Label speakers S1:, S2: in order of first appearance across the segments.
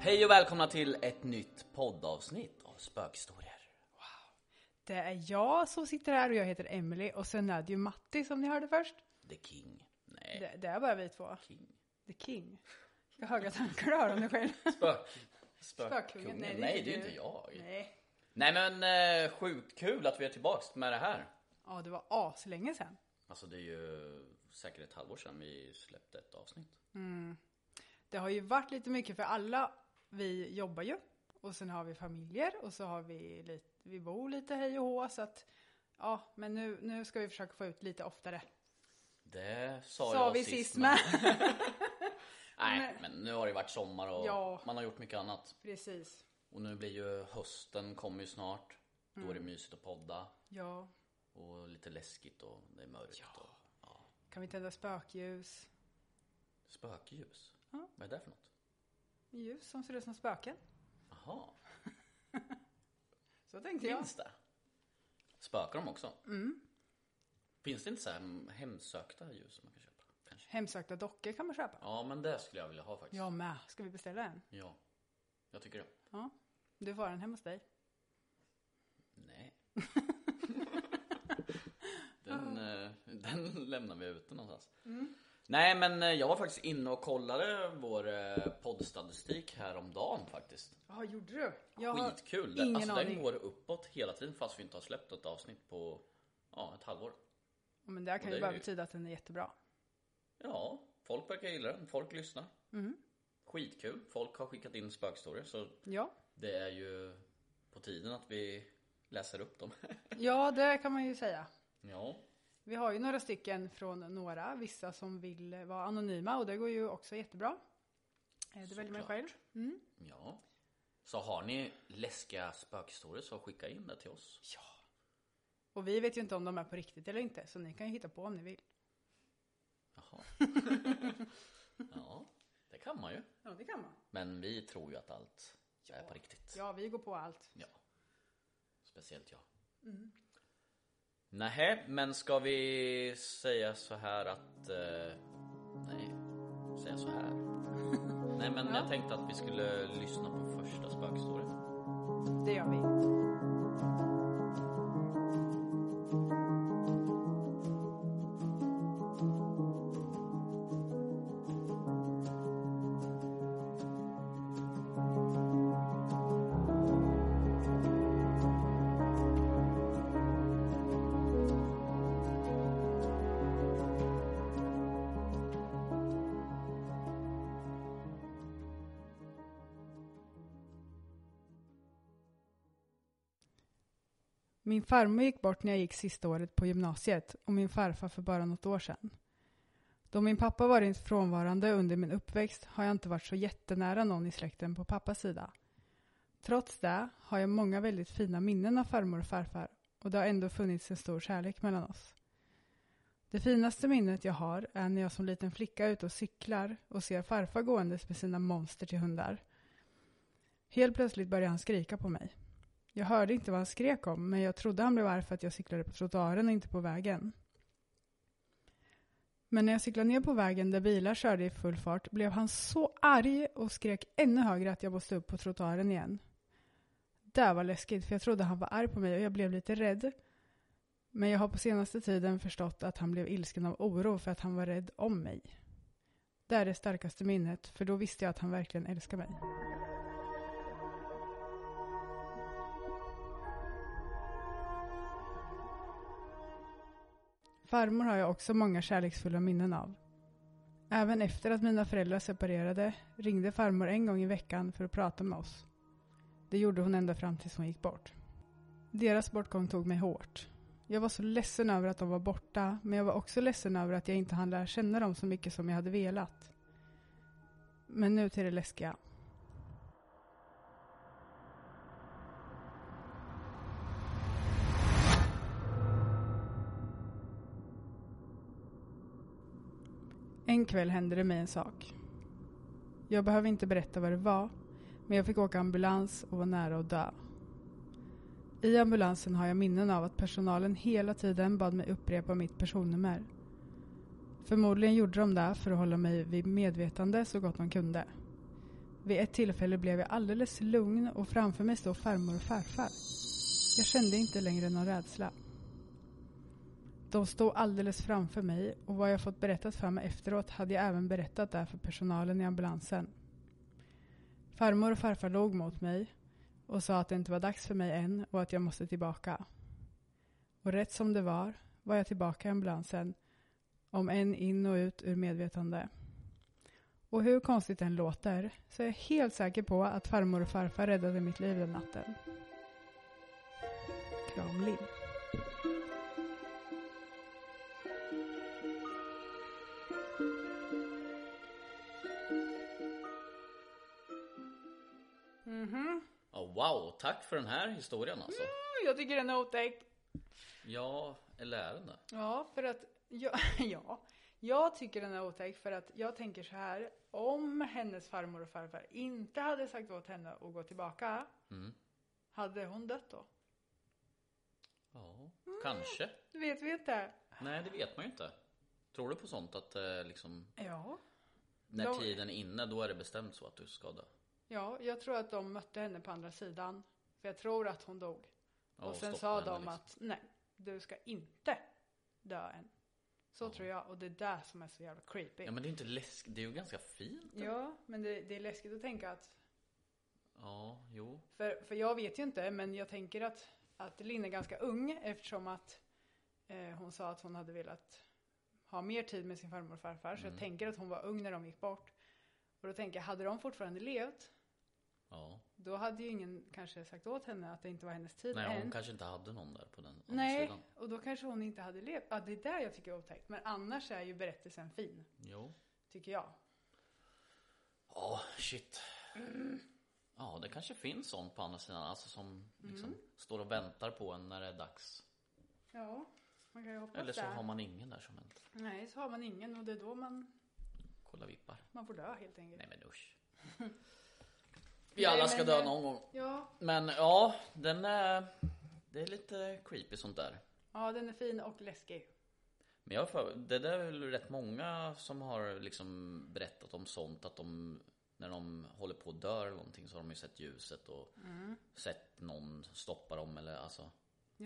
S1: Hej och välkomna till ett nytt poddavsnitt av Spökhistorier.
S2: Det är jag som sitter här och jag heter Emily och sen är det ju Matti som ni hörde först.
S1: The King. Nej,
S2: Det, det är bara vi två.
S1: King.
S2: The King. Jag har höga tankar du har om dig själv.
S1: Spök.
S2: Spökkungen.
S1: Nej,
S2: Nej,
S1: det
S2: det är
S1: är
S2: inte
S1: ju
S2: du.
S1: inte jag. Nej,
S2: Nej.
S1: men eh, sjukt kul att vi är tillbaks med det här.
S2: Ja, det var aslänge sen.
S1: Alltså det är ju säkert ett halvår sedan vi släppte ett avsnitt.
S2: Det har ju varit lite mycket för alla. Vi jobbar ju och sen har vi familjer och så har vi lite, vi bor lite hej och hå så att ja, men nu, nu ska vi försöka få ut lite oftare.
S1: Det sa,
S2: Sa
S1: jag
S2: vi
S1: sist,
S2: sist med.
S1: Nej, men nu har det varit sommar och
S2: Ja.
S1: man har gjort mycket annat.
S2: Precis.
S1: Och nu blir ju hösten kommer ju snart. Då
S2: Mm.
S1: är det mysigt att podda
S2: Ja,
S1: och lite läskigt och det är mörkt. Och, ja.
S2: kan vi tända spökljus?
S1: Spökljus?
S2: Ja.
S1: Vad är det för något?
S2: Ljus som ser ut som spöken.
S1: Jaha,
S2: Så tänkte jag. Mm.
S1: finns det? Spökar de också? Finns det inte så här hemsökta ljus man kan köpa? Kanske.
S2: Hemsökta dockor kan man köpa.
S1: Ja, men det skulle jag vilja ha faktiskt.
S2: Jag med. Ska vi beställa en?
S1: ja. Jag tycker det.
S2: Ja. Du får den hemma hos dig.
S1: Nej. den, eh, den lämnar vi ute någonstans.
S2: Mm.
S1: Nej men eh, jag var faktiskt inne och kollade vår eh, poddstatistik häromdagen faktiskt.
S2: Ja, gjorde du? Jag har
S1: Skitkul! Den-
S2: Ingen
S1: alltså den
S2: aning.
S1: går uppåt hela tiden fast vi inte har släppt ett avsnitt på ja, ett halvår.
S2: Ja, Men det här kan
S1: Det är
S2: ju bara
S1: ju-
S2: betyda att den är jättebra.
S1: Ja, folk verkar gilla den, folk lyssnar.
S2: Mm.
S1: Skitkul, folk har skickat in spökstorier så
S2: Ja.
S1: det är ju på tiden att vi läser upp dem.
S2: ja, det kan man ju säga.
S1: ja,
S2: Vi har ju några stycken från några, vissa som vill vara anonyma och det går ju också jättebra. Eh, Det väljer man
S1: Såklart.
S2: själv.
S1: ja. Så har ni läskiga spökhistorier så skicka in det till oss.
S2: Och vi vet ju inte om de är på riktigt eller inte, så ni kan ju hitta på om ni vill.
S1: Jaha. ja, det kan man ju.
S2: Ja, det kan man.
S1: Men vi tror ju att allt är på riktigt.
S2: Ja, vi går på allt.
S1: Ja. Speciellt jag. Nähä, men ska vi säga så här att... Eh, nej, säga så här. nej, men jag tänkte att vi skulle lyssna på första spökstoryn.
S2: Det gör vi. Min farmor gick bort när jag gick sista året på gymnasiet och min farfar för bara något år sedan. Då min pappa varit frånvarande under min uppväxt har jag inte varit så jättenära någon i släkten på pappas sida. Trots det har jag många väldigt fina minnen av farmor och farfar och det har ändå funnits en stor kärlek mellan oss. Det finaste minnet jag har är när jag som liten flicka är ute och cyklar och ser farfar gåendes med sina monster till hundar. Helt plötsligt börjar han skrika på mig. Jag hörde inte vad han skrek om, men jag trodde han blev arg för att jag cyklade på trottoaren och inte på vägen. Men när jag cyklade ner på vägen där bilar körde i full fart blev han så arg och skrek ännu högre att jag måste upp på trottoaren igen. Det var läskigt, för jag trodde han var arg på mig och jag blev lite rädd. Men jag har på senaste tiden förstått att han blev ilsken av oro för att han var rädd om mig. Det är det starkaste minnet, för då visste jag att han verkligen älskar mig. Farmor har jag också många kärleksfulla minnen av. Även efter att mina föräldrar separerade ringde farmor en gång i veckan för att prata med oss. Det gjorde hon ända fram tills hon gick bort. Deras bortgång tog mig hårt. Jag var så ledsen över att de var borta, men jag var också ledsen över att jag inte hann lära känna dem så mycket som jag hade velat. Men nu till det läskiga. En kväll hände det mig en sak. Jag behöver inte berätta vad det var, men jag fick åka ambulans och var nära att dö. I ambulansen har jag minnen av att personalen hela tiden bad mig upprepa mitt personnummer. Förmodligen gjorde de det för att hålla mig vid medvetande så gott de kunde. Vid ett tillfälle blev jag alldeles lugn och framför mig stod farmor och farfar. Jag kände inte längre någon rädsla. De stod alldeles framför mig och vad jag fått berättat för mig efteråt hade jag även berättat det för personalen i ambulansen. Farmor och farfar låg mot mig och sa att det inte var dags för mig än och att jag måste tillbaka. Och rätt som det var var jag tillbaka i ambulansen, om än in och ut ur medvetande. Och hur konstigt den låter så är jag helt säker på att farmor och farfar räddade mitt liv den natten. Kram Linn. Mhm.
S1: Ja, wow, tack för den här historien alltså.
S2: Jag tycker den är otäck.
S1: Ja, eller är den det?
S2: Ja, för att jag, ja, jag tycker den är otäck för att jag tänker så här. Om hennes farmor och farfar inte hade sagt åt henne att gå tillbaka,
S1: Mm.
S2: hade hon dött då?
S1: Ja,
S2: Mm.
S1: kanske.
S2: Det vet vi inte.
S1: Nej, det vet man ju inte. Tror du på sånt att eh, liksom,
S2: Ja.
S1: när
S2: De-
S1: tiden är inne då är det bestämt så att du ska dö?
S2: Ja, jag tror att de mötte henne på andra sidan. För jag tror att hon dog.
S1: Ja,
S2: och sen
S1: stoppa
S2: sa
S1: henne,
S2: de
S1: liksom.
S2: att nej, du ska inte dö än. Så
S1: Ja.
S2: tror jag, och det är det som är så jävla creepy.
S1: Ja men det är ju inte läskigt, det är ju ganska fint.
S2: Ja, men det, det är läskigt att tänka att
S1: Ja, jo.
S2: För, för jag vet ju inte, men jag tänker att, att Linn är ganska ung eftersom att eh, hon sa att hon hade velat ha mer tid med sin farmor och farfar. Så jag
S1: Mm.
S2: tänker att hon var ung när de gick bort. Och då tänker jag, hade de fortfarande levt,
S1: Ja.
S2: då hade ju ingen kanske sagt åt henne att det inte var hennes tid
S1: Nej, hon
S2: än.
S1: kanske inte hade någon där på den andra
S2: Nej,
S1: sidan.
S2: och då kanske hon inte hade levt. Ja, det är där jag tycker är otäckt. Men annars är ju berättelsen fin,
S1: Jo.
S2: tycker jag.
S1: Ja, shit. Ja, det kanske finns sånt på andra sidan, alltså som liksom
S2: Mm.
S1: står och väntar på en när det är dags.
S2: Ja, man kan ju hoppas
S1: Eller så
S2: det.
S1: har man ingen där som väntar.
S2: Nej, så har man ingen och det är då man,
S1: Kolla vippar.
S2: man får dö helt enkelt.
S1: Nej men usch. Vi alla ska
S2: men,
S1: dö
S2: eh,
S1: någon gång.
S2: Ja,
S1: Men ja, den är... Det är lite creepy sånt där.
S2: Ja, den är fin och läskig.
S1: Men jag har för, det där är väl rätt många som har liksom berättat om sånt att de när de håller på och dör eller någonting så har de ju sett ljuset och sett någon stoppa dem eller alltså och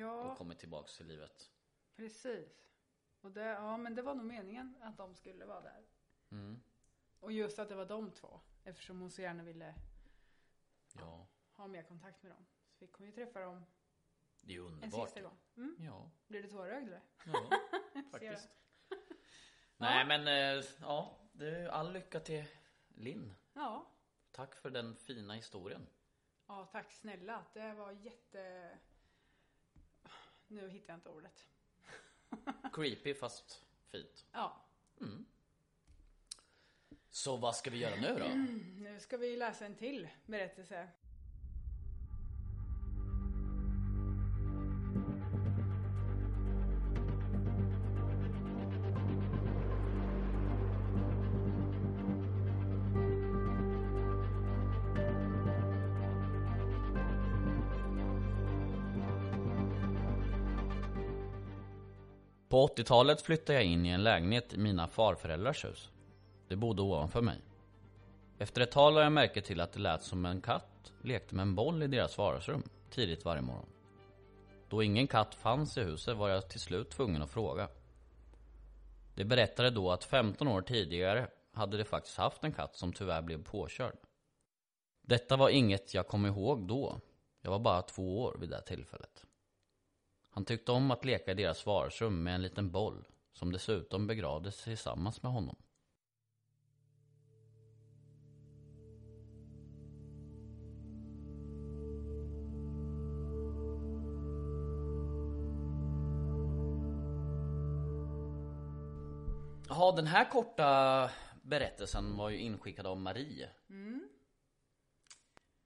S2: Ja,
S1: kommit tillbaks till livet.
S2: precis. Och det, ja, men det var nog meningen att de skulle vara där.
S1: Mm.
S2: Och just att det var de två, eftersom hon så gärna ville
S1: Ja,
S2: ha mer kontakt med dem. Så fick hon ju träffa dem
S1: det är ju
S2: en
S1: underbart.
S2: sista gång. Mm.
S1: Ja,
S2: Blir du tårögd eller?
S1: ja faktiskt. Nej men eh, ja, det är ju all lycka till Linn.
S2: Ja.
S1: Tack för den fina historien.
S2: ja, tack snälla. Det var jätte... Nu hittar jag inte ordet.
S1: Creepy fast fint. Mm.
S2: Ja,
S1: Så vad ska vi göra nu då?
S2: nu ska vi läsa en till berättelse.
S1: På 80-talet flyttade jag in i en lägenhet i mina farföräldrars hus. Det bodde ovanför mig. Efter ett tag lade jag märke till att det lät som en katt lekte med en boll i deras vardagsrum tidigt varje morgon. Då ingen katt fanns i huset var jag till slut tvungen att fråga. De berättade då att 15 år tidigare hade de faktiskt haft en katt som tyvärr blev påkörd. Detta var inget jag kom ihåg då. Jag var bara två år vid det här tillfället. Han tyckte om att leka i deras vardagsrum med en liten boll som dessutom begravdes tillsammans med honom. Ja, den här korta berättelsen var ju inskickad av Marie.
S2: Mm.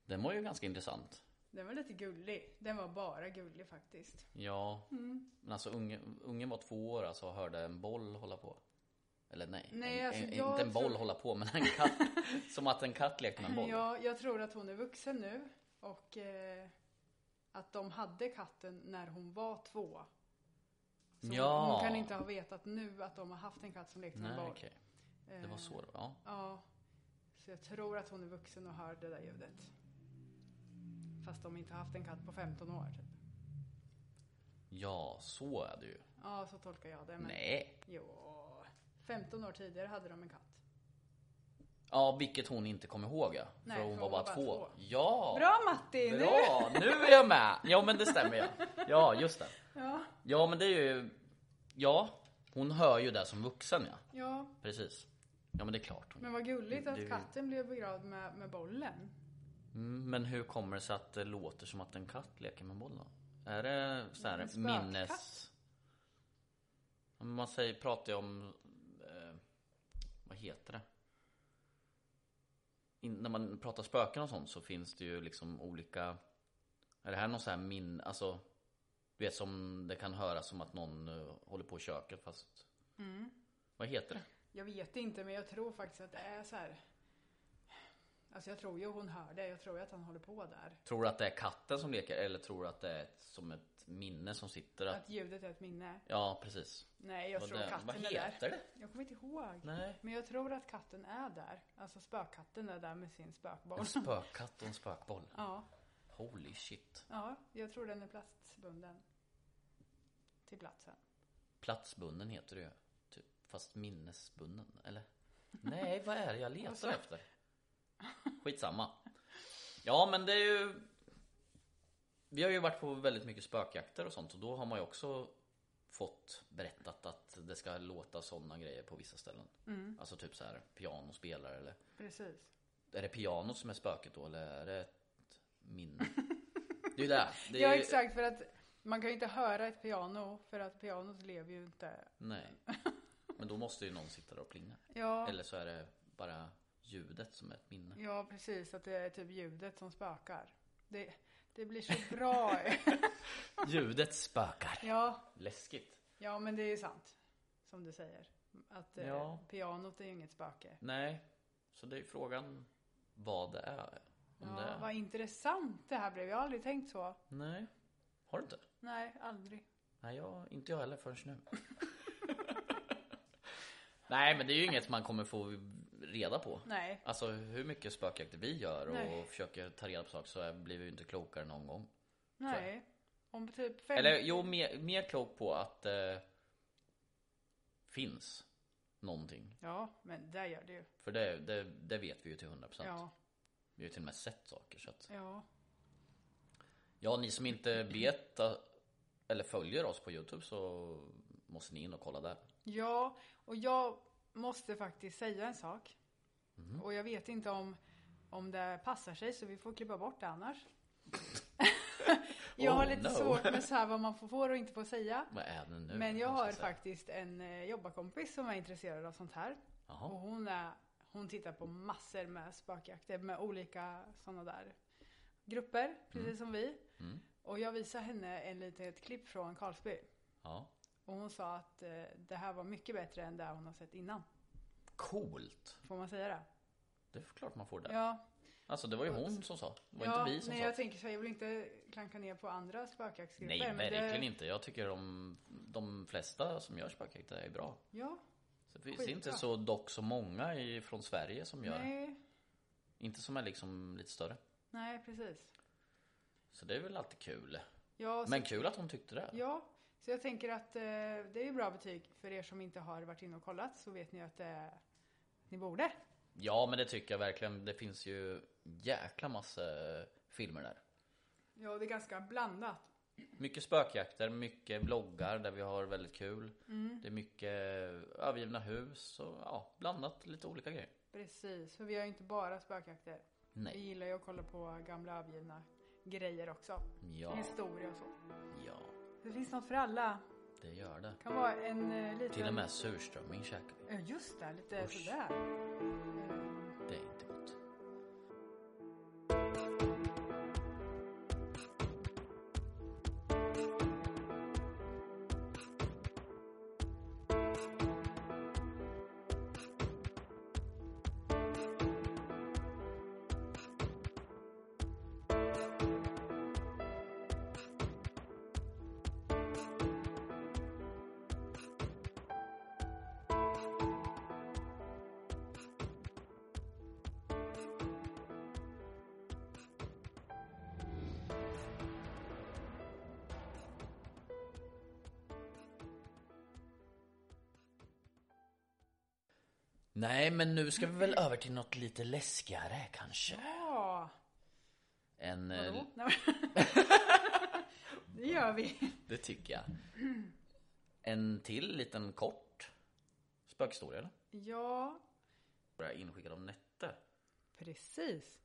S1: Den var ju ganska intressant.
S2: Den var lite gullig. Den var bara gullig faktiskt. Mm.
S1: Ja, men alltså ungen, ungen var två år alltså och hörde en boll hålla på. Eller nej,
S2: Nej,
S1: en,
S2: alltså,
S1: en,
S2: jag
S1: inte en boll
S2: tror-
S1: hålla på men en katt. som att en katt lekte med en boll.
S2: Ja, jag tror att hon är vuxen nu och eh, att de hade katten när hon var två. Så hon-
S1: Ja.
S2: Hon kan inte ha vetat nu att de har haft en katt som lekte med en
S1: nej,
S2: boll.
S1: okej. Det var
S2: Eh,
S1: så det var. Ja.
S2: Ja. Så Så jag tror att hon är vuxen och hör det där ljudet. Fast de inte har haft en katt på 15 år typ.
S1: Ja, så är det ju.
S2: Ja, så tolkar jag det. Men...
S1: Nej.
S2: Jo. 15 år tidigare hade de en katt.
S1: Ja, vilket hon inte kommer ihåg ja.
S2: Nej,
S1: för hon var bara två.
S2: två.
S1: Ja!
S2: Bra Matti! nu-
S1: Bra! Nu är jag med! Ja men det stämmer ja. Ja just det.
S2: Ja,
S1: Ja men det är ju... Ja, hon hör ju det som vuxen ja.
S2: ja,
S1: Precis. Ja men det är klart hon
S2: men vad gulligt att
S1: Du-
S2: katten blev begravd med, med bollen.
S1: Mm, Men hur kommer det sig att det låter som att en katt leker med boll då? Är det så här
S2: En spökkatt.
S1: minnes... Om Man säger, pratar ju om... Eh, vad heter det? In, när man pratar spöken och sånt så finns det ju liksom olika... Är det här någon sån här min... Alltså... Du vet som det kan höras som att någon eh, håller på i köket fast...
S2: Mm.
S1: Vad heter det?
S2: Jag vet inte, men jag tror faktiskt att det är så här. Alltså jag tror ju hon hör det. Jag tror ju att han håller på där.
S1: Tror du att det är katten som leker eller tror du att det är ett, som ett minne som sitter? Att,
S2: Att ljudet är ett minne.
S1: ja, precis.
S2: Nej, jag
S1: Vad
S2: tror
S1: det-
S2: katten
S1: vad
S2: är där.
S1: heter det?
S2: Jag kommer inte ihåg.
S1: Nej.
S2: Men jag tror att katten är där. Alltså spökkatten är där med sin spökboll.
S1: En spökkatt och en spökboll.
S2: Ja,
S1: Holy shit.
S2: ja, jag tror den är plastbunden. Till platsen.
S1: Platsbunden heter det ju. Typ. Fast minnesbunden, eller? Nej, vad är det jag
S2: Alltså.
S1: letar efter? Skitsamma. Ja, men det är ju... Vi har ju varit på väldigt mycket spökjakter och sånt och då har man ju också fått berättat att det ska låta sådana grejer på vissa ställen. Alltså typ så här pianospelare eller...
S2: Mm, Precis.
S1: Är det piano som är spöket då eller är det ett minne? Det är ju det. det är
S2: Ja,
S1: ju...
S2: exakt. För att man kan ju inte höra ett piano för att pianot lever ju inte.
S1: Nej. Men då måste ju någon sitta där och plinga.
S2: Ja,
S1: Eller så är det bara ljudet som är ett minne.
S2: ja precis. Att det är typ ljudet som spökar. Det, det blir så bra.
S1: Ljudet spökar.
S2: ja,
S1: Läskigt.
S2: ja, men det är ju sant. Som du säger. Att eh,
S1: Ja.
S2: pianot är ju inget spöke.
S1: Nej, så det är ju frågan vad det är. Om det
S2: Ja,
S1: är.
S2: vad intressant det här blev. Jag har aldrig tänkt så.
S1: Nej, har du inte?
S2: Nej, aldrig.
S1: Nej, jag, inte jag heller förrän nu. Nej, men det är ju inget man kommer få reda på.
S2: Nej.
S1: Alltså hur mycket spökjakter vi gör och
S2: Nej.
S1: försöker ta reda på saker så är- blir vi ju inte klokare någon gång.
S2: Nej. Om typ fem...
S1: Eller jo, mer, mer klok på att eh, finns någonting.
S2: Ja, men det gör det ju.
S1: För det, det, det vet vi ju till 100%.
S2: Ja,
S1: Vi har ju till och med sett saker. Så att,
S2: ja.
S1: ja, ni som inte vet eh, eller följer oss på Youtube så måste ni in och kolla där.
S2: Ja, och jag måste faktiskt säga en sak.
S1: Mhm. Mm.
S2: Och jag vet inte om, om det passar sig så vi får klippa bort det annars. jag har
S1: Oh,
S2: lite
S1: no.
S2: svårt med så här vad man får, får och inte får säga.
S1: Vad är det nu?
S2: Men jag
S1: måste
S2: har
S1: säga.
S2: faktiskt en eh, jobbarkompis som är intresserad av sånt här.
S1: Jaha.
S2: Och hon, är, hon tittar på massor med spökjakter med olika sådana där grupper, precis
S1: Mm.
S2: som vi. Och jag visade henne en litet klipp från Karlsby.
S1: Ja.
S2: Och hon sa att eh, det här var mycket bättre än det hon har sett innan.
S1: Coolt!
S2: Får man säga det?
S1: Det är klart man får det.
S2: Ja.
S1: Alltså det var ju hon som sa. Det var
S2: ja,
S1: inte vi som
S2: nej,
S1: sa.
S2: jag tänker så. här, Jag vill inte klanka ner på andra spökjaktsgrupper.
S1: Nej,
S2: men
S1: verkligen
S2: det,
S1: inte. Jag tycker de, de flesta som gör spökjakt är bra.
S2: Ja,
S1: Så det finns
S2: Skitbra.
S1: inte så dock så många i, från Sverige som gör det.
S2: nej,
S1: Inte som är liksom lite större.
S2: nej, precis.
S1: Så det är väl alltid kul.
S2: Ja, så,
S1: Men kul att hon tyckte det.
S2: ja, så jag tänker att eh, det är ju bra betyg för er som inte har varit inne och kollat så vet ni att eh, ni borde.
S1: Ja men det tycker jag verkligen. Det finns ju jäkla massa filmer där.
S2: Ja, det är ganska blandat.
S1: Mycket spökjakter, mycket bloggar där vi har väldigt kul.
S2: Mm,
S1: Det är mycket övergivna hus och ja, blandat lite olika grejer.
S2: Precis, för vi har ju inte bara spökjakter. Vi
S1: Nej.
S2: gillar ju att kolla på gamla övergivna grejer också.
S1: Ja,
S2: Historia och så.
S1: ja,
S2: Det finns något för alla.
S1: det gör det.
S2: Kan vara en eh, liten...
S1: Till och med surströmming käkar vi.
S2: Ja, just det. Lite
S1: Usch.
S2: sådär. Eh,
S1: Det är inte gott. Nej, men nu ska vi väl
S2: Mm.
S1: över till något lite läskigare kanske.
S2: Ja,
S1: Än, eh,
S2: vadå? Nej, men- det gör vi.
S1: det tycker jag. En till liten kort spökhistoria eller?
S2: Ja,
S1: Bara inskickad om nätter.
S2: precis.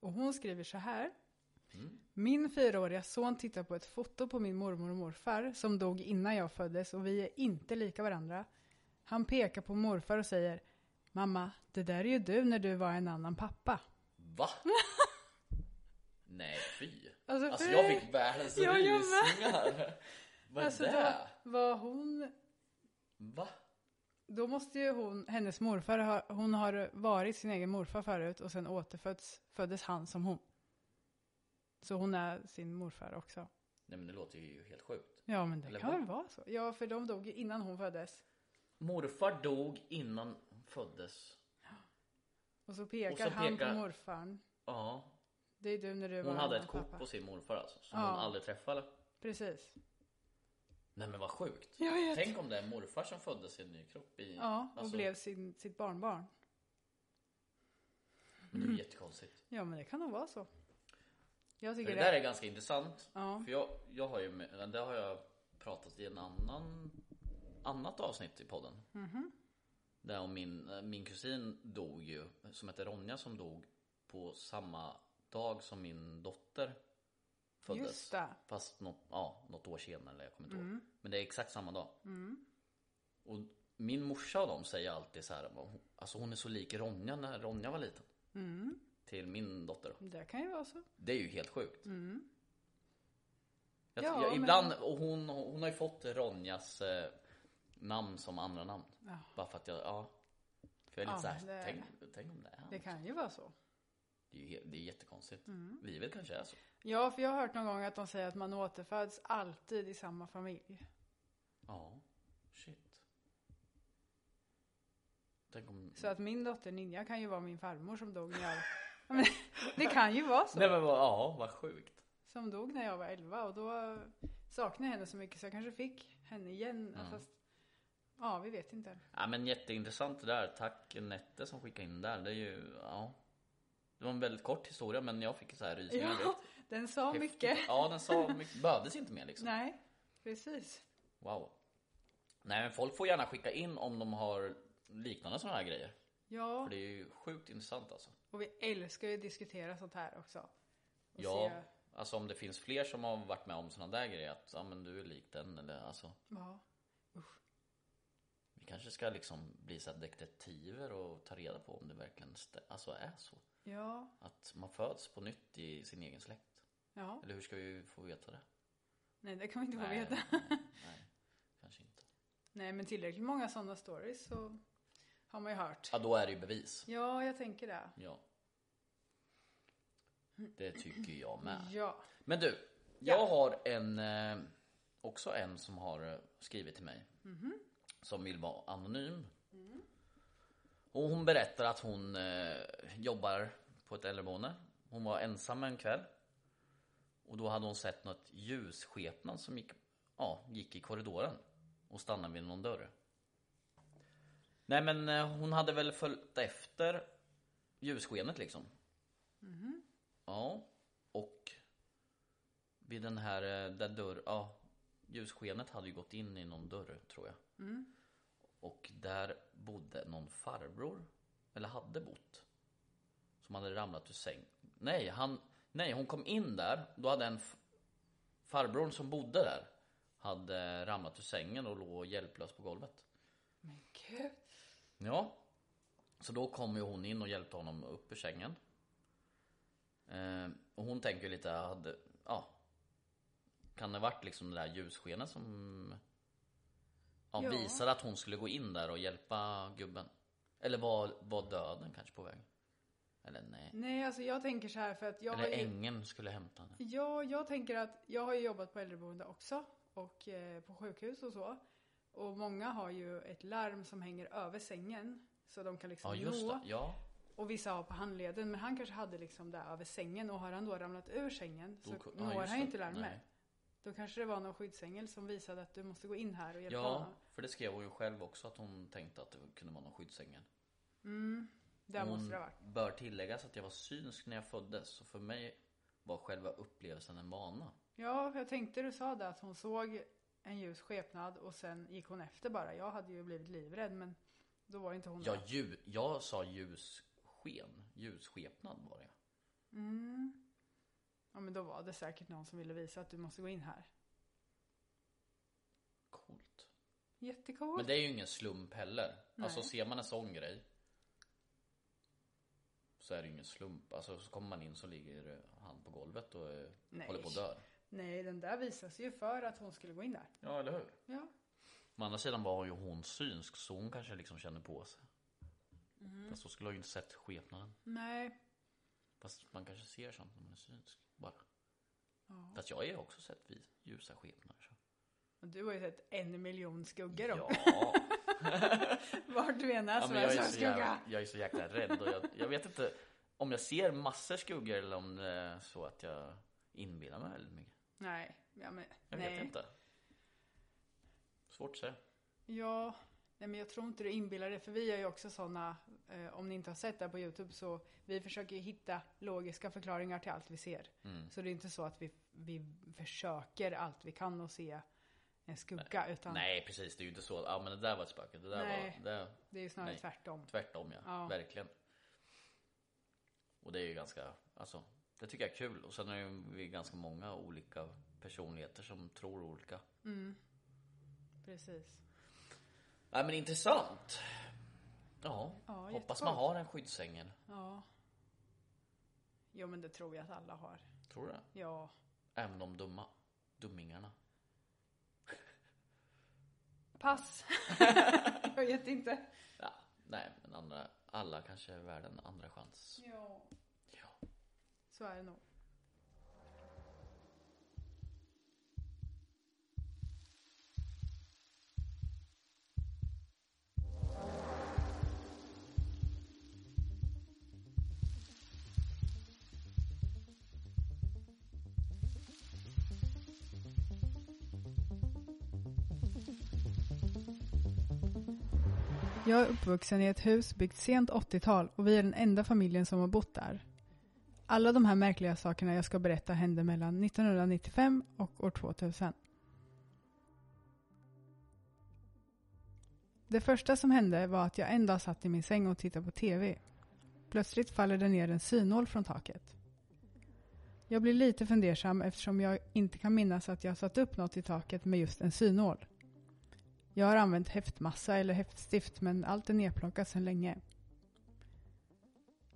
S2: Och hon skriver så här.
S1: Mm.
S2: Min fyraåriga son tittar på ett foto på min mormor och morfar som dog innan jag föddes och vi är inte lika varandra. Han pekar på morfar och säger Mamma, det där är ju du när du var en annan pappa.
S1: Va? Nej, fy.
S2: Alltså,
S1: Alltså
S2: fy.
S1: jag fick världens
S2: Ja, jag med.
S1: rysningar. Vad är
S2: Alltså då
S1: det?
S2: var hon
S1: Va?
S2: Då måste ju hon, hennes morfar, ha, hon har varit sin egen morfar förut och sen återföddes föddes han som hon. Så hon är sin morfar också.
S1: Nej men det låter ju helt sjukt.
S2: Ja men det
S1: Eller
S2: kan
S1: hon.
S2: väl vara så. Ja för de dog ju innan hon föddes.
S1: Morfar dog innan hon föddes.
S2: Och så pekar,
S1: Och så
S2: han på
S1: pekar-
S2: morfarn.
S1: Ja.
S2: Det är du när du var
S1: Hon hade
S2: mamma,
S1: ett kort
S2: pappa.
S1: på sin morfar alltså. Som
S2: Ja.
S1: hon aldrig träffade.
S2: Precis.
S1: Nej men vad sjukt.
S2: Jag vet.
S1: Tänk om det är morfar som föddes i en ny kropp. I,
S2: Ja, och
S1: alltså,
S2: blev sin, sitt barnbarn.
S1: men Det är ju jättekonstigt.
S2: Ja men det kan nog vara så. Jag
S1: För
S2: tycker
S1: det där är ganska intressant.
S2: Ja.
S1: För jag, jag har ju, med- det har jag pratat i en annan, annat avsnitt i podden.
S2: Mhm.
S1: Där om min, min kusin dog ju, som heter Ronja som dog på samma dag som min dotter föddes.
S2: Just det.
S1: Fast något, ja, något år senare, eller jag kommer
S2: Mm.
S1: inte ihåg. Men det är exakt samma dag. Och min morsa och de säger alltid så här, alltså hon är så lik Ronja när Ronja var liten. Till min dotter då.
S2: mm. Det kan ju vara så. Mm,
S1: Det är ju helt sjukt. Jag, jag,
S2: Ja, men-
S1: ibland, och hon, hon har ju fått Ronjas eh, namn som andra namn.
S2: Ja.
S1: Bara för att jag, ja. För jag är lite
S2: Ja,
S1: såhär,
S2: men det-
S1: tänk, tänk om det är han.
S2: Det kan ju vara så. Mm.
S1: Det är ju helt, det är jättekonstigt. Livet kanske är så.
S2: Ja för jag har hört någon gång att de säger att man återföds alltid i samma familj.
S1: Ja, shit. Tänk om...
S2: Så att min dotter Ninja kan ju vara min farmor som dog när jag... Ja, men Det kan ju vara så.
S1: Nej men vad, ja, vad sjukt.
S2: Som dog när jag var 11 och då saknade jag henne så mycket så jag kanske fick henne igen. Fast, ja, vi vet inte.
S1: Ja men jätteintressant det där. Tack Nette som skickade in där. Det är ju, ja. Det var en väldigt kort historia men jag fick så här rysningar.
S2: Ja,
S1: direkt.
S2: den sa
S1: Häftigt.
S2: mycket.
S1: Ja, den sa mycket. Bödes inte mer liksom.
S2: Nej, precis.
S1: Wow. Nej, men folk får gärna skicka in om de har liknande sådana här grejer.
S2: Ja,
S1: För det är ju sjukt intressant alltså.
S2: och vi älskar ju att diskutera sånt här också. Och
S1: Ja,
S2: se-
S1: alltså om det finns fler som har varit med om sådana där grejer. Att ja, men du är lik den eller alltså.
S2: ja.
S1: Vi kanske ska liksom bli så här detektiver och ta reda på om det verkligen stä- alltså är så.
S2: Ja,
S1: Att man föds på nytt i sin egen släkt.
S2: ja.
S1: Eller hur ska vi få veta det?
S2: Nej, det kan vi inte få veta.
S1: nej, kanske inte.
S2: Nej, men tillräckligt många sådana stories så har man ju hört.
S1: Ja, då är det ju bevis.
S2: Ja, jag tänker det.
S1: Ja. Det tycker jag med.
S2: Ja.
S1: Men du, jag har en, eh, också en som har eh, skrivit till mig. Som vill vara anonym. Mm. Och hon berättar att hon eh, jobbar på ett äldreboende. Hon var ensam en kväll. Och då hade hon sett något ljusskepnad som gick, ja, gick i korridoren och stannade vid någon dörr. Nej men eh, hon hade väl följt efter ljusskenet liksom. Ja, och vid den här eh, där dörr, ja, ljusskenet hade ju gått in i någon dörr tror jag.
S2: Mm.
S1: Och där bodde någon farbror, eller hade bott. Som hade ramlat ur säng. Nej, han, nej hon kom in där, då hade en f- farbror som bodde där hade ramlat ur sängen och låg hjälplös på golvet.
S2: Men gud.
S1: Ja. Så då kom ju hon in och hjälpte honom upp ur sängen. Eh, och hon tänker ju lite, hade, ja. Kan det varit liksom det där ljusskenet som ja,
S2: Ja.
S1: visade att hon skulle gå in där och hjälpa gubben? Eller var, var döden kanske på väg? Eller nej.
S2: Nej, alltså jag tänker så här för att jag har
S1: Eller
S2: ju...
S1: ängeln skulle hämta henne.
S2: Ja, jag tänker att jag har ju jobbat på äldreboende också och eh, på sjukhus och så. Och många har ju ett larm som hänger över sängen så de kan liksom
S1: Ja just
S2: nå.
S1: det, ja.
S2: Och vissa har på handleden men han kanske hade liksom det över sängen och har han då ramlat ur sängen
S1: Då
S2: så
S1: ku- ja,
S2: når
S1: just
S2: han
S1: det.
S2: ju inte larmet.
S1: Nej.
S2: Då kanske det var någon skyddsängel som visade att du måste gå in här och hjälpa
S1: Ja,
S2: honom.
S1: för det skrev hon ju själv också att hon tänkte att det kunde vara någon skyddsängel.
S2: Mm, där måste det ha varit.
S1: Ehm, Bör tilläggas att jag var synsk när jag föddes, så för mig var själva upplevelsen en vana.
S2: Ja, för jag tänkte du sa det att hon såg en ljus skepnad och sen gick hon efter bara. Jag hade ju blivit livrädd men då var inte hon
S1: Jag,
S2: det.
S1: ljus, jag sa ljussken, ljusskepnad var det.
S2: Mm. Ja men då var det säkert någon som ville visa att du måste gå in här.
S1: Coolt.
S2: Jättecoolt.
S1: Men det är ju ingen slump heller. Alltså ser man en sån grej så är det ju ingen slump. Alltså så kommer man in så ligger eh, han på golvet och eh,
S2: Nej.
S1: håller på att dö.
S2: Nej, den där visas ju för att hon skulle gå in där.
S1: Ja, eller hur?
S2: Ja.
S1: Å andra sidan var ju hon synsk så hon kanske liksom känner på sig.
S2: Mm.
S1: Fast då skulle hon ju inte sett skepnaden.
S2: Nej.
S1: Fast man kanske ser sånt när man är synsk. Bara. Fast jag har ju också sett vi ljusa skepnader. Så.
S2: Och du har ju sett en miljon skuggor om
S1: Ja,
S2: vart du än är
S1: ja
S2: så
S1: men
S2: är
S1: jag,
S2: det
S1: är
S2: en
S1: så jävla,
S2: Alltså, skugga.
S1: jag är så jäkla rädd. Och jag, jag vet inte om jag ser massor skuggor eller om det är så att jag inbillar mig väldigt mycket.
S2: Nej, ja, men
S1: Jag
S2: nej.
S1: vet inte. Svårt att säga.
S2: Ja, nej men jag tror inte du inbillar dig för vi är ju också sådana, eh, om ni inte har sett det här på Youtube så vi försöker ju hitta logiska förklaringar till allt vi ser.
S1: Mm.
S2: Så det är inte så att vi, vi försöker allt vi kan och se en skugga utan
S1: Nej precis, det är ju inte så. Ja men det där var ett spöke. Det där
S2: Nej.
S1: var... Det,
S2: det är ju snarare
S1: Nej.
S2: tvärtom.
S1: Tvärtom ja,
S2: Ja.
S1: verkligen. Och det är ju ganska, alltså det tycker jag är kul. Och sen är det ju vi ganska många olika personligheter som tror olika.
S2: Mm. Precis.
S1: Nej men intressant. Ja,
S2: Ja,
S1: hoppas
S2: jättegott.
S1: man har en skyddsängel.
S2: Ja. Jo men det tror jag att alla har.
S1: Tror du det?
S2: Ja.
S1: Även de dumma. Dummingarna.
S2: Pass! jag vet inte.
S1: Ja, nej men andra, alla kanske är värda en andra chans.
S2: Ja.
S1: Ja.
S2: Så är det nog. Jag är uppvuxen i ett hus byggt sent 80-tal och vi är den enda familjen som har bott där. Alla de här märkliga sakerna jag ska berätta hände mellan 1995 och år 2000. Det första som hände var att jag en dag satt i min säng och tittade på TV. Plötsligt faller det ner en synål från taket. Jag blir lite fundersam eftersom jag inte kan minnas att jag satt upp något i taket med just en synål. Jag har använt häftmassa eller häftstift men allt är nedplockat sedan länge.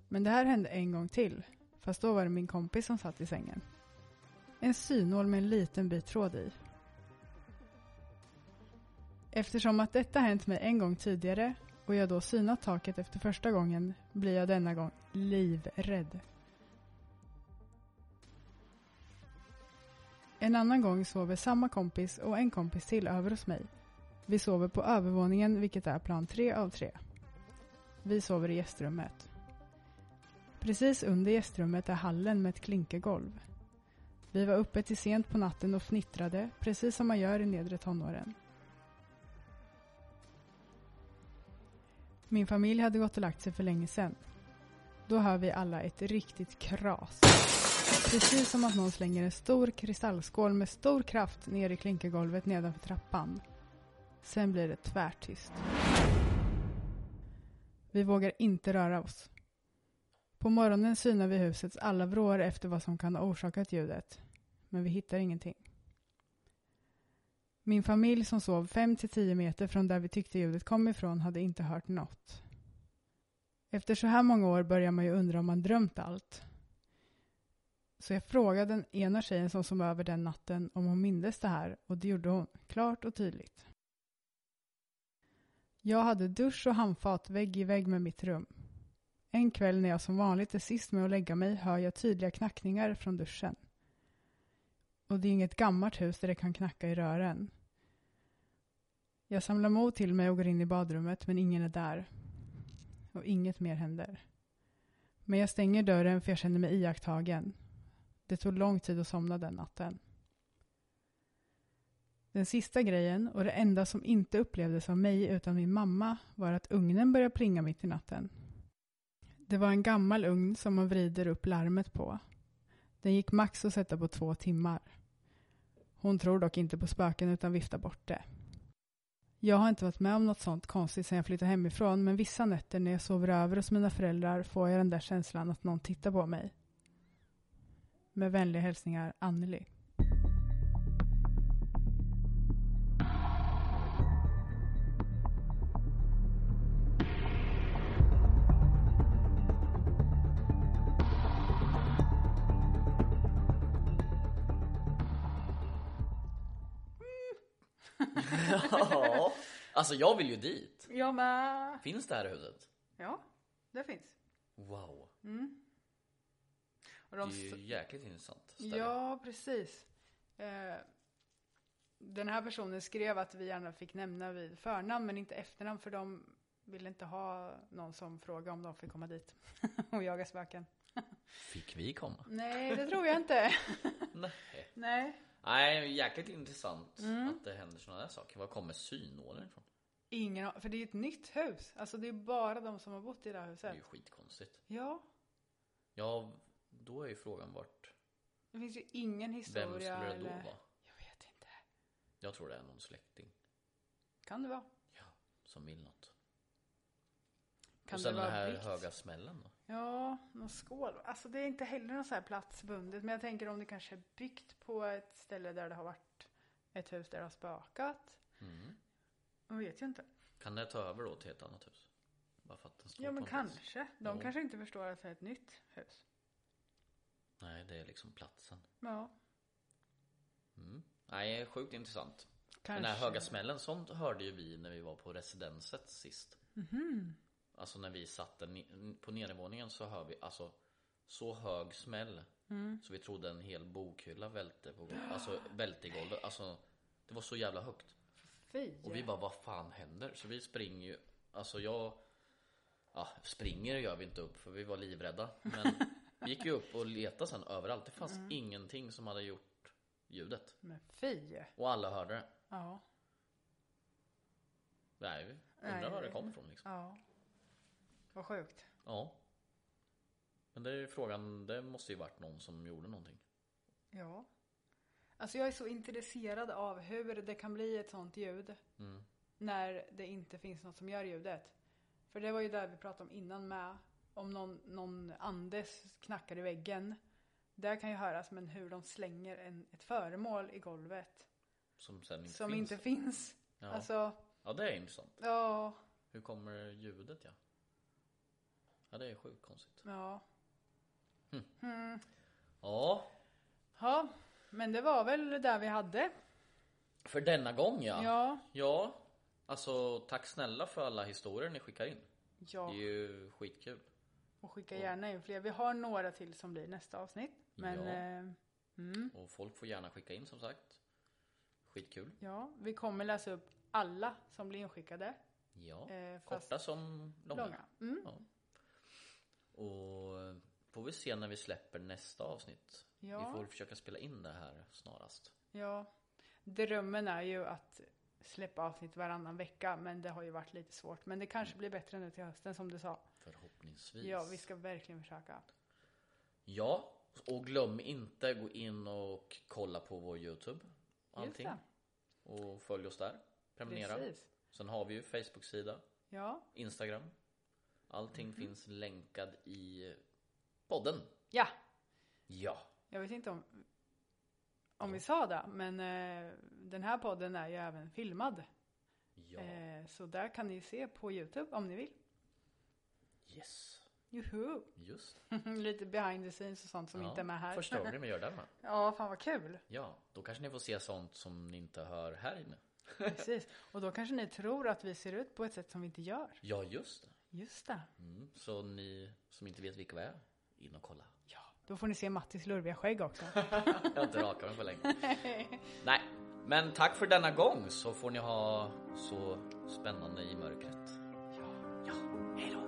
S2: Men det här hände en gång till, fast då var det min kompis som satt i sängen. En synål med en liten bit tråd i. Eftersom att detta hänt mig en gång tidigare och jag då synat taket efter första gången blir jag denna gång livrädd. En annan gång sover samma kompis och en kompis till över hos mig. Vi sover på övervåningen vilket är plan tre av tre. Vi sover i gästrummet. Precis under gästrummet är hallen med ett klinkergolv. Vi var uppe till sent på natten och fnittrade, precis som man gör i nedre tonåren. Min familj hade gått och lagt sig för länge sedan. Då hör vi alla ett riktigt kras. Precis som att någon slänger en stor kristallskål med stor kraft ner i klinkergolvet nedanför trappan. Sen blir det tvärtyst. Vi vågar inte röra oss. På morgonen synar vi husets alla vrår efter vad som kan ha orsakat ljudet. Men vi hittar ingenting. Min familj som sov 5-10 meter från där vi tyckte ljudet kom ifrån hade inte hört något. Efter så här många år börjar man ju undra om man drömt allt. Så jag frågade den ena tjejen som sov över den natten om hon mindes det här och det gjorde hon, klart och tydligt. Jag hade dusch och handfat vägg i vägg med mitt rum. En kväll när jag som vanligt är sist med att lägga mig hör jag tydliga knackningar från duschen. Och det är inget gammalt hus där det kan knacka i rören. Jag samlar mod till mig och går in i badrummet men ingen är där. Och inget mer händer. Men jag stänger dörren för jag känner mig iakttagen. Det tog lång tid att somna den natten. Den sista grejen och det enda som inte upplevdes av mig utan min mamma var att ugnen började plinga mitt i natten. Det var en gammal ugn som man vrider upp larmet på. Den gick max att sätta på två timmar. Hon tror dock inte på spöken utan viftar bort det. Jag har inte varit med om något sånt konstigt sedan jag flyttade hemifrån men vissa nätter när jag sover över hos mina föräldrar får jag den där känslan att någon tittar på mig. Med vänliga hälsningar Anneli.
S1: ja. Alltså jag vill ju dit.
S2: Jag med!
S1: Finns det här huset?
S2: Ja, det finns.
S1: Wow.
S2: Mm. Och
S1: Det
S2: de
S1: är ju jäkligt intressant ställe.
S2: Ja, precis. Eh, den här personen skrev att vi gärna fick nämna vid förnamn men inte efternamn för de ville inte ha någon som frågade om de fick komma dit och jaga spöken.
S1: Fick vi komma?
S2: Nej, det tror jag inte.
S1: Nej.
S2: Nej.
S1: Nej, jäkligt intressant
S2: Mm.
S1: att det händer sådana där saker. Var kommer synålen ifrån?
S2: Ingen a- för det är ju ett nytt hus. Alltså det är bara de som har bott i det här
S1: Det är
S2: huset.
S1: ju skitkonstigt.
S2: Ja,
S1: Ja, då är ju frågan vart...
S2: det finns ju ingen historia.
S1: Vem skulle det då
S2: eller...
S1: vara?
S2: Jag vet inte.
S1: Jag tror det är någon släkting
S2: Kan det vara?
S1: som vill något.
S2: Kan
S1: och sen
S2: det vara
S1: den här
S2: vikt?
S1: höga smällen då?
S2: Ja, någon skål. Alltså det är inte heller något så här platsbundet. Men jag tänker om det kanske är byggt på ett ställe där det har varit ett hus där det har spökat.
S1: Mm.
S2: Man vet ju inte.
S1: Kan det ta över då till ett annat hus? Bara för att den står
S2: Ja men
S1: på en plats.
S2: kanske. De
S1: Jo.
S2: kanske inte förstår att det är ett nytt hus.
S1: Nej, det är liksom platsen.
S2: Ja,
S1: Mm. Nej, sjukt intressant.
S2: kanske.
S1: Den här höga smällen, sånt hörde ju vi när vi var på residenset sist.
S2: Mhm.
S1: Alltså när vi satt där ne- på nedervåningen så hör vi alltså så hög smäll
S2: Mm.
S1: så vi trodde en hel bokhylla välte, på, golvet. alltså, välte i golvet. Alltså, det var så jävla högt.
S2: Fy.
S1: Och vi bara, vad fan händer? Så vi springer ju, alltså jag, ja springer gör vi inte upp för vi var livrädda. Men vi gick ju upp och letade sen överallt. Det
S2: Mm.
S1: fanns ingenting som hade gjort ljudet.
S2: Men fy.
S1: Och alla hörde det.
S2: Ja.
S1: Nej, vi undrar
S2: Nej,
S1: var
S2: det-
S1: det kom ifrån liksom.
S2: Ja. Vad sjukt.
S1: Ja. Men det är ju frågan, det måste ju varit någon som gjorde någonting.
S2: Ja. Alltså jag är så intresserad av hur det kan bli ett sånt ljud.
S1: Mm.
S2: när det inte finns något som gör ljudet. För det var ju där vi pratade om innan med. Om någon, någon andes knackar i väggen. Där kan ju höras men hur de slänger en, ett föremål i golvet.
S1: Som sen inte
S2: som
S1: finns.
S2: inte finns.
S1: ja.
S2: Alltså,
S1: ja, det är intressant.
S2: ja,
S1: Hur kommer ljudet ja? Ja, det är sjukt konstigt.
S2: ja.
S1: Hm.
S2: Mm.
S1: Ja,
S2: Ja, men det var väl där vi hade.
S1: för denna gång ja.
S2: Ja, ja.
S1: Ja, alltså tack snälla för alla historier ni skickar in. Det är
S2: ja.
S1: ju skitkul.
S2: Och skicka gärna in fler. Vi har några till som blir nästa avsnitt. Men
S1: Ja.
S2: eh,
S1: Och folk får gärna skicka in som sagt. Skitkul.
S2: ja, vi kommer läsa upp alla som blir inskickade.
S1: Ja,
S2: Eh, fast
S1: korta som långa.
S2: långa. Mm.
S1: Ja. Och eh, får vi se när vi släpper nästa avsnitt.
S2: Ja.
S1: Vi får försöka spela in det här snarast.
S2: Ja, drömmen är ju att släppa avsnitt varannan vecka, men det har ju varit lite svårt. Men det
S1: Mm.
S2: kanske blir bättre nu till hösten som du sa.
S1: Förhoppningsvis.
S2: Ja, vi ska verkligen försöka.
S1: Ja, och glöm inte gå in och kolla på vår Youtube. och Allting.
S2: Just
S1: Och följ oss där.
S2: det.
S1: Prenumerera.
S2: Precis.
S1: Sen har vi ju Facebook-sida.
S2: Ja.
S1: Instagram. Allting
S2: Mhm.
S1: finns länkad i podden.
S2: ja,
S1: Ja.
S2: jag vet inte om, om vi sa det, men eh, den här podden är ju även filmad.
S1: Ja.
S2: Eh, så där kan ni se på Youtube om ni vill.
S1: Yes.
S2: Juhu!
S1: Just.
S2: lite behind the scenes och sånt som
S1: Ja.
S2: inte är med här.
S1: Förstör det men gör det med.
S2: Ja, fan vad kul!
S1: Ja, då kanske ni får se sånt som ni inte hör här inne.
S2: Precis. Och då kanske ni tror att vi ser ut på ett sätt som vi inte gör.
S1: Ja, just det.
S2: Just det.
S1: Mm. Så ni som inte vet vilka vi är, in och kolla.
S2: Ja, då får ni se Mattis lurviga skägg också.
S1: Jag har inte rakat mig på länge. Nej, men tack för denna gång så får ni ha så spännande i mörkret. Ja, hej då.